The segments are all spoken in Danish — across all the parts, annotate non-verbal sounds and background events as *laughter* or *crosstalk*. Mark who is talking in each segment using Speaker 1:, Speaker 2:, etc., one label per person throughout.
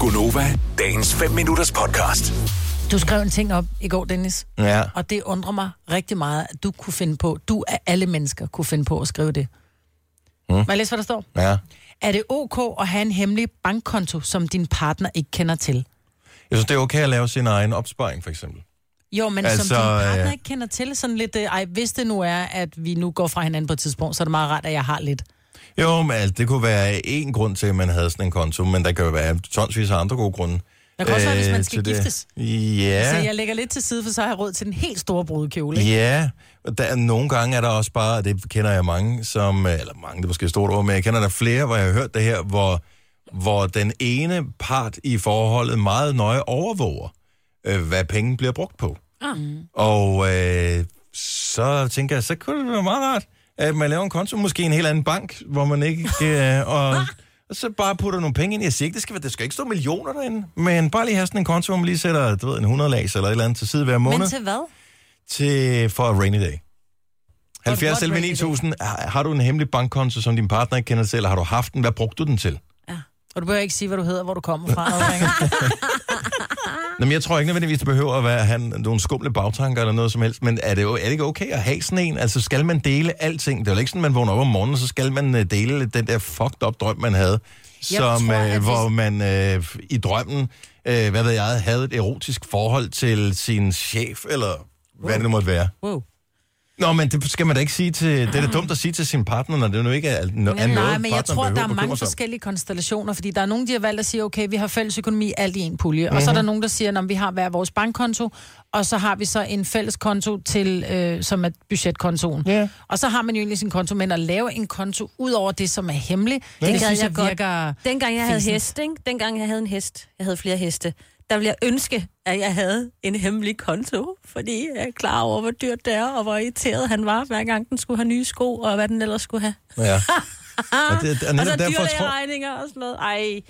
Speaker 1: Gunova, dagens 5 minutters podcast.
Speaker 2: Du skrev en ting op i går, Dennis,
Speaker 3: Ja.
Speaker 2: og det undrer mig rigtig meget, at du kunne finde på, du af alle mennesker kunne finde på at skrive det. Mm. Må jeg læse, hvad der står?
Speaker 3: Ja.
Speaker 2: Er det ok at have en hemmelig bankkonto, som din partner ikke kender til?
Speaker 3: Jeg synes, det er okay at lave sin egen opsparing, for eksempel.
Speaker 2: Jo, men altså, som
Speaker 3: Altså,
Speaker 2: din partner
Speaker 3: øh,
Speaker 2: ikke kender til, sådan lidt, øh, ej, hvis det nu er, at vi nu går fra hinanden på et tidspunkt, så er det meget rart, at jeg har lidt.
Speaker 3: Jo, men altså, det kunne være en grund til, at man havde sådan en konto, men der kan jo være tonsvis af andre gode grunde.
Speaker 2: Der kan også være, hvis man
Speaker 3: øh,
Speaker 2: skal
Speaker 3: til det.
Speaker 2: giftes.
Speaker 3: Ja.
Speaker 2: Så jeg lægger lidt til side, for så har jeg råd til den helt store brudekjole. ikke?
Speaker 3: Ja, og der, er- nogle gange er der også bare, og det kender jeg mange, som, øh, eller mange, det er måske et stort ord, men jeg kender der flere, hvor jeg har hørt det her, hvor, hvor den ene part i forholdet meget nøje overvåger, øh, hvad penge bliver brugt på. Mm. Og øh, så tænker jeg, så kunne det være meget rart, at man laver en konto, måske i en helt anden bank, hvor man ikke... Øh, og, og så bare putter nogle penge ind. Jeg siger ikke, det skal, være- det skal ikke stå millioner derinde, men bare lige have sådan en konto, hvor man lige sætter, du ved, en 100 lags eller et eller andet til side hver måned
Speaker 2: Men til hvad?
Speaker 3: til for a rainy day.
Speaker 2: et
Speaker 3: 70
Speaker 2: godt
Speaker 3: 11
Speaker 2: rainy day.
Speaker 3: 9000. Har har du en hemmelig bankkonto, som din partner ikke kender til, eller har du haft den? Hvad brugte du den til?
Speaker 2: Og du behøver ikke sige, hvad du hedder, hvor du kommer fra. når du ringer.
Speaker 3: *laughs* Jamen, jeg tror ikke nødvendigvis, det behøver at være han, nogle skumle bagtanker eller noget som helst, men er det, jo- er det ikke okay at have sådan en? Altså, skal man dele alting? Det er jo ikke sådan, man vågner op om morgenen, og så skal man øh, dele den der fucked up drøm, man havde,
Speaker 2: Jeg
Speaker 3: som,
Speaker 2: tror,
Speaker 3: øh,
Speaker 2: at hvis-
Speaker 3: hvor man øh, i drømmen, øh, hvad ved jeg, havde et erotisk forhold til sin chef, eller hvad det nu måtte være.
Speaker 2: wow.
Speaker 3: Nå, men det skal man da ikke sige til... Det er da dumt at sige til sin partner, når det nu ikke er, er noget,
Speaker 2: Nej, men jeg
Speaker 3: partneren
Speaker 2: tror,
Speaker 3: behøver
Speaker 2: der er
Speaker 3: at
Speaker 2: mange
Speaker 3: bekymre sig om.
Speaker 2: forskellige konstellationer, fordi der er nogen, der har valgt at sige, okay, vi har fælles økonomi alt i en pulje, mm-hmm. og
Speaker 3: Mhm.
Speaker 2: så er der nogen, der siger, at vi har hver vores bankkonto, og så har vi så en fælles konto til, øh, som er budgetkontoen.
Speaker 3: Ja.
Speaker 2: Og så har man jo egentlig sin konto, men at lave en konto ud over det, som er hemmelig, ja. det
Speaker 4: gad
Speaker 2: synes jeg,
Speaker 4: jeg godt.
Speaker 2: virker...
Speaker 4: Dengang jeg havde
Speaker 2: Fisens.
Speaker 4: hest, ikke? Dengang jeg havde en hest, jeg havde flere heste, der ville jeg ønske, at jeg havde en hemmelig konto, fordi jeg er klar over, hvor dyrt det er, og hvor irriteret han var, hver gang den skulle have nye sko, og hvad den ellers skulle have. Ah,
Speaker 3: Ja. Og det, og
Speaker 4: Og
Speaker 3: netop
Speaker 4: så
Speaker 3: derfor tror...
Speaker 4: dyrlægeregninger og sådan noget. Ej,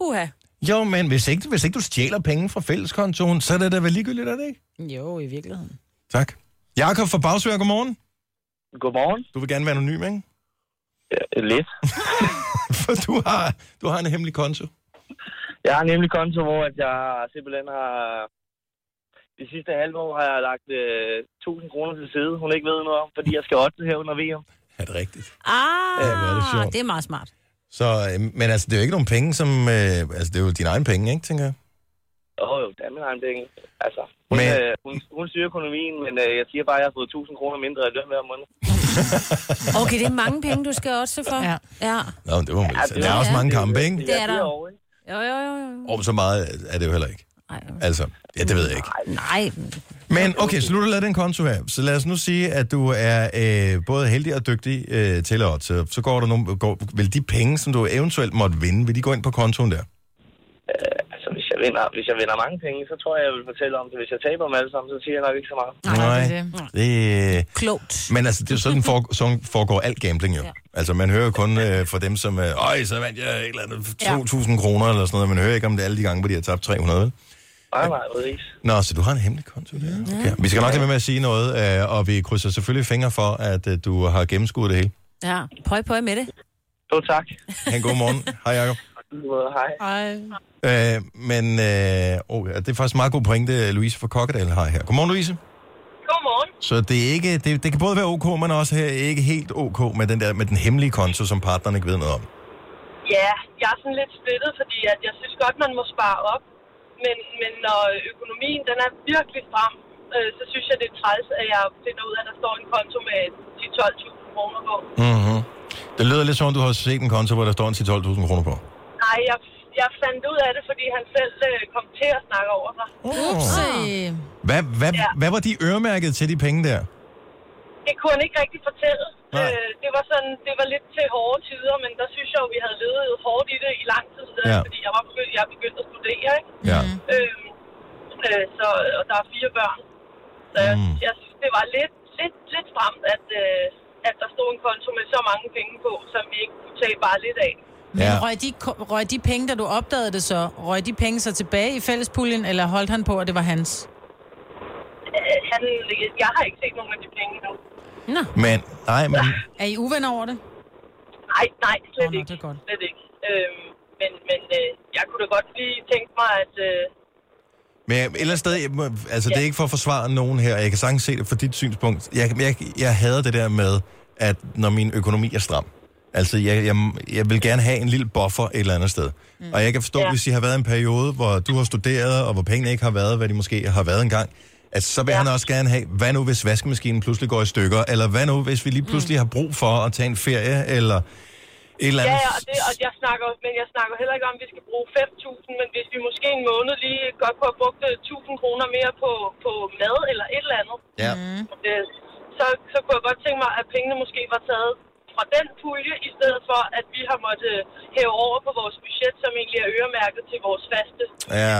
Speaker 4: uha. Ah,
Speaker 3: Jo, men hvis ikke, hvis ikke du stjæler penge fra fælleskontoen, så er det da vel ligegyldigt, er det ikke?
Speaker 2: Jo, i virkeligheden.
Speaker 3: Tak. Jakob fra Bagsvær, godmorgen.
Speaker 5: Godmorgen.
Speaker 3: Du vil gerne være anonym, ikke? *laughs*
Speaker 5: Ja, Lidt.
Speaker 3: For du har, du har en hemmelig konto.
Speaker 5: Jeg har nemlig konto, hvor at jeg simpelthen har... De sidste halve år har jeg lagt øh, 1000 kroner til side. Hun ikke ved noget om, fordi jeg skal otte her under VM.
Speaker 3: Er det rigtigt?
Speaker 4: Ah,
Speaker 3: Ja, hvor er det
Speaker 4: ja,
Speaker 3: sjovt.
Speaker 4: det, det er meget smart.
Speaker 3: Så, øh, men altså, det er jo ikke nogen penge, som... Øh, altså, det er jo dine egne penge, ikke, tænker jeg?
Speaker 5: Åh, jo, det er min egen penge. Altså, hun,
Speaker 3: Men-
Speaker 5: men... øh, hun, hun styrer økonomien, men øh, jeg siger bare, at jeg har fået 1000 kroner mindre i løn hver måned.
Speaker 4: Okay, det er mange penge, du skal også for.
Speaker 2: Ja.
Speaker 4: Ja. ja.
Speaker 3: Nå, men det var ja,
Speaker 5: Ja, det
Speaker 3: Altså, Der er
Speaker 5: er-
Speaker 3: også mange kampe, ikke?
Speaker 4: Det er der.
Speaker 5: derovre, ikke?
Speaker 4: Jo, jo, jo, jo.
Speaker 3: Og så meget er det jo heller ikke.
Speaker 4: Ej,
Speaker 3: Altså, ja, det ved jeg ikke.
Speaker 4: nej,
Speaker 3: Men okay, så nu har du lavet den konto her. Så lad os nu sige, at du er øh, både heldig og dygtig øh, til at så, så går der nogle, går, vil de penge, som du eventuelt måtte vinde, vil de gå ind på kontoen der?
Speaker 5: Altså, hvis jeg, vinder, hvis jeg vinder mange penge, så tror jeg, jeg vil fortælle om det. Hvis jeg taber dem alle sammen, så siger jeg nok ikke så meget.
Speaker 2: Nej, det er det.
Speaker 3: det øh,
Speaker 4: klogt.
Speaker 3: men altså, det er jo sådan, for, sådan foregår alt gambling jo. Ja. Altså, man hører jo kun øh, fra dem, som, øh, øj, så vandt jeg et eller andet 2.000 kroner eller sådan noget. Man hører ikke om det alle de gange, hvor de har tabt 300, vel?
Speaker 5: Nej, nej, præcis.
Speaker 3: Nå, så du har en hemmelig konto der. Okay. Vi skal nok lade være med at sige noget, øh, og vi krydser selvfølgelig fingre for, at øh, du har gennemskuet det hele.
Speaker 4: Ja, pøj, pøj med det.
Speaker 5: Jo, tak.
Speaker 3: Ha' en god morgen. Hej, Jacob.
Speaker 5: I lige måde, Hej.
Speaker 2: Ej.
Speaker 3: Øh, men øh, oh, ja, det er faktisk en meget god pointe, Louise fra Kokkedal har her. Godmorgen, Louise.
Speaker 6: Godmorgen.
Speaker 3: Så det, er ikke, det, det kan både være ok, men også her ikke helt ok med den, der, med den hemmelige konto, som partneren ikke ved noget om.
Speaker 6: Ja, jeg er sådan lidt splittet, fordi at jeg synes godt, man må spare op. Men, men når økonomien den er virkelig stram, øh, så synes jeg, det er træls, at jeg finder ud af, at der står en konto med 10-12.000 kroner på.
Speaker 3: Mm-hmm. Det lyder lidt som om, du har set en konto, hvor der står en til 12.000 kroner på.
Speaker 6: Nej, jeg, jeg fandt ud af det, fordi han selv øh, kom til at snakke over mig.
Speaker 3: Oh.
Speaker 2: Så, øh,
Speaker 3: Hvad, hvad,
Speaker 6: Ja.
Speaker 3: hvad var de øremærket til de penge der?
Speaker 6: Det kunne han ikke rigtig fortælle.
Speaker 3: Nej.
Speaker 6: Øh, det var sådan, det var lidt til hårde tider, men der synes jeg jo, vi havde levet hårdt i det i lang tid,
Speaker 3: Ja.
Speaker 6: ja. fordi jeg var begyndt, jeg begyndte at studere, ikke?
Speaker 3: Ja.
Speaker 6: Øh, øh, så, og der er fire børn. Så jeg,
Speaker 3: Mm.
Speaker 6: jeg synes, det var lidt, lidt, lidt stramt, at, øh, at der stod en konto med så mange penge på, som vi ikke kunne tage bare lidt af.
Speaker 2: men
Speaker 3: Ja.
Speaker 2: røg, de, ko- røg de penge, da du opdagede det så, røg de penge så tilbage i fællespuljen, eller holdt han på, at det var hans?
Speaker 6: Øh, han, jeg har ikke set nogen af de penge nu.
Speaker 3: Men, nej, men,
Speaker 2: Er I uvenner over det?
Speaker 6: Nej, nej, slet
Speaker 2: Nå, nå,
Speaker 6: ikke.
Speaker 2: det er godt.
Speaker 6: Slet ikke. Øhm, men men øh, jeg kunne da godt lige tænke mig, at... Øh,
Speaker 3: Men et eller andet sted, jeg må- altså det er ikke for at forsvare nogen her, og jeg kan sagtens se det fra dit synspunkt. Jeg, jeg, jeg hader det der med, at når min økonomi er stram. Altså, jeg, jeg, jeg vil gerne have en lille buffer et eller andet sted. Mm. Og jeg kan forstå, ja.
Speaker 6: Ja.
Speaker 3: hvis I har været i en periode, hvor du har studeret, og hvor pengene ikke har været, hvad de måske har været engang, at så vil ja.
Speaker 6: Ja.
Speaker 3: han også gerne have, hvad nu hvis vaskemaskinen pludselig går i stykker, eller hvad nu hvis vi lige pludselig mm. har brug for at tage en ferie, eller et eller andet.
Speaker 6: ja, ja, og, det, og jeg snakker, men jeg snakker heller ikke om, at vi skal bruge 5.000, men hvis vi måske en måned lige godt kunne have brugt øh, 1.000 kroner mere på, på mad eller et eller andet,
Speaker 3: ja.
Speaker 2: Mm.
Speaker 6: øh, så, så kunne jeg godt tænke mig, at pengene måske var taget fra den pulje, i stedet for, at vi har måttet øh, hæve over på vores budget, som egentlig er øremærket til vores faste.
Speaker 3: Ja,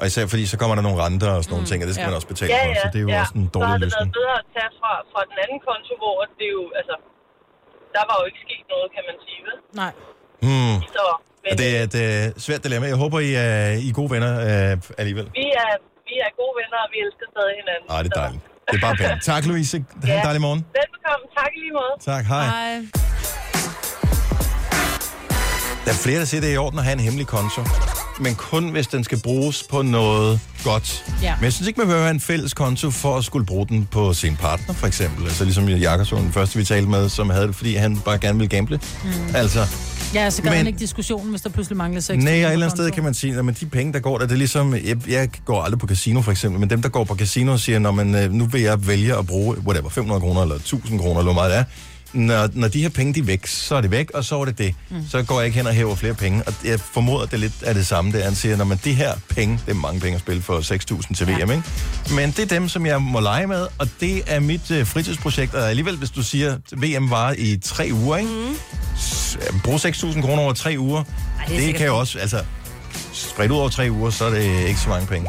Speaker 3: og især fordi så kommer der nogle renter og sådan nogle ting, og det skal
Speaker 2: ja.
Speaker 3: man også betale
Speaker 6: Ja,
Speaker 3: for,
Speaker 6: ja,
Speaker 3: så det er jo
Speaker 6: ja.
Speaker 3: også en
Speaker 6: Så har
Speaker 3: dårlig
Speaker 6: det været
Speaker 3: løsning.
Speaker 6: bedre at tage fra, fra den anden konto, hvor det jo, altså, der var jo ikke sket noget, kan man sige, vel?
Speaker 2: Nej.
Speaker 3: Hmm.
Speaker 6: Så, men
Speaker 3: Og det er et uh, svært dilemma. Jeg håber, I er, I er gode venner uh, alligevel.
Speaker 6: vi, er, vi er gode venner, og vi elsker stadig hinanden.
Speaker 3: Ej, det
Speaker 6: så-
Speaker 3: er dejligt. Det er bare pænt. Tak, Louise. Ha' en
Speaker 6: Ja.
Speaker 3: dejlig morgen.
Speaker 6: Velbekomme. Tak i lige måde.
Speaker 3: Tak, hej.
Speaker 2: Ej.
Speaker 3: Der er flere, der siger, det er i orden at have en hemmelig konto. Men kun hvis den skal bruges på noget godt.
Speaker 2: Ja.
Speaker 3: Men jeg synes ikke, man behøver have en fælles konto for at skulle bruge den på sin partner, for eksempel. Altså ligesom Jakobsson, den første vi talte med, som havde det, fordi han bare gerne ville gamble. Mm. Altså,
Speaker 2: Ja, så gør
Speaker 3: Men-
Speaker 2: men... man ikke diskussionen, hvis der pludselig mangler 6.
Speaker 3: Nej, og et eller andet sted kan man sige, at de penge, der går der, det er ligesom, jeg, jeg går aldrig på casino for eksempel, men dem, der går på casino, siger, når man, øh, nu vil jeg vælge at bruge, whatever, 500 kroner eller 1000 kroner, eller hvor meget det er. Når, når de her penge, de er væk, så er det væk, og så er det det. Mm. Så går jeg ikke hen og hæver flere penge, og jeg formoder, at det lidt er det samme, der han siger, når man de her penge, det er mange penge at spille for 6.000 til VM, ikke? Men det er dem, som jeg må lege med, og det er mit øh, fritidsprojekt, og alligevel, hvis du siger, at VM var i tre uger, ikke? Mm. Brug 6.000 kroner over tre uger, Ej,
Speaker 4: det er
Speaker 3: det, det
Speaker 4: sikkert
Speaker 3: kan jo også, altså, spredt ud over tre uger, så er det ikke så mange penge.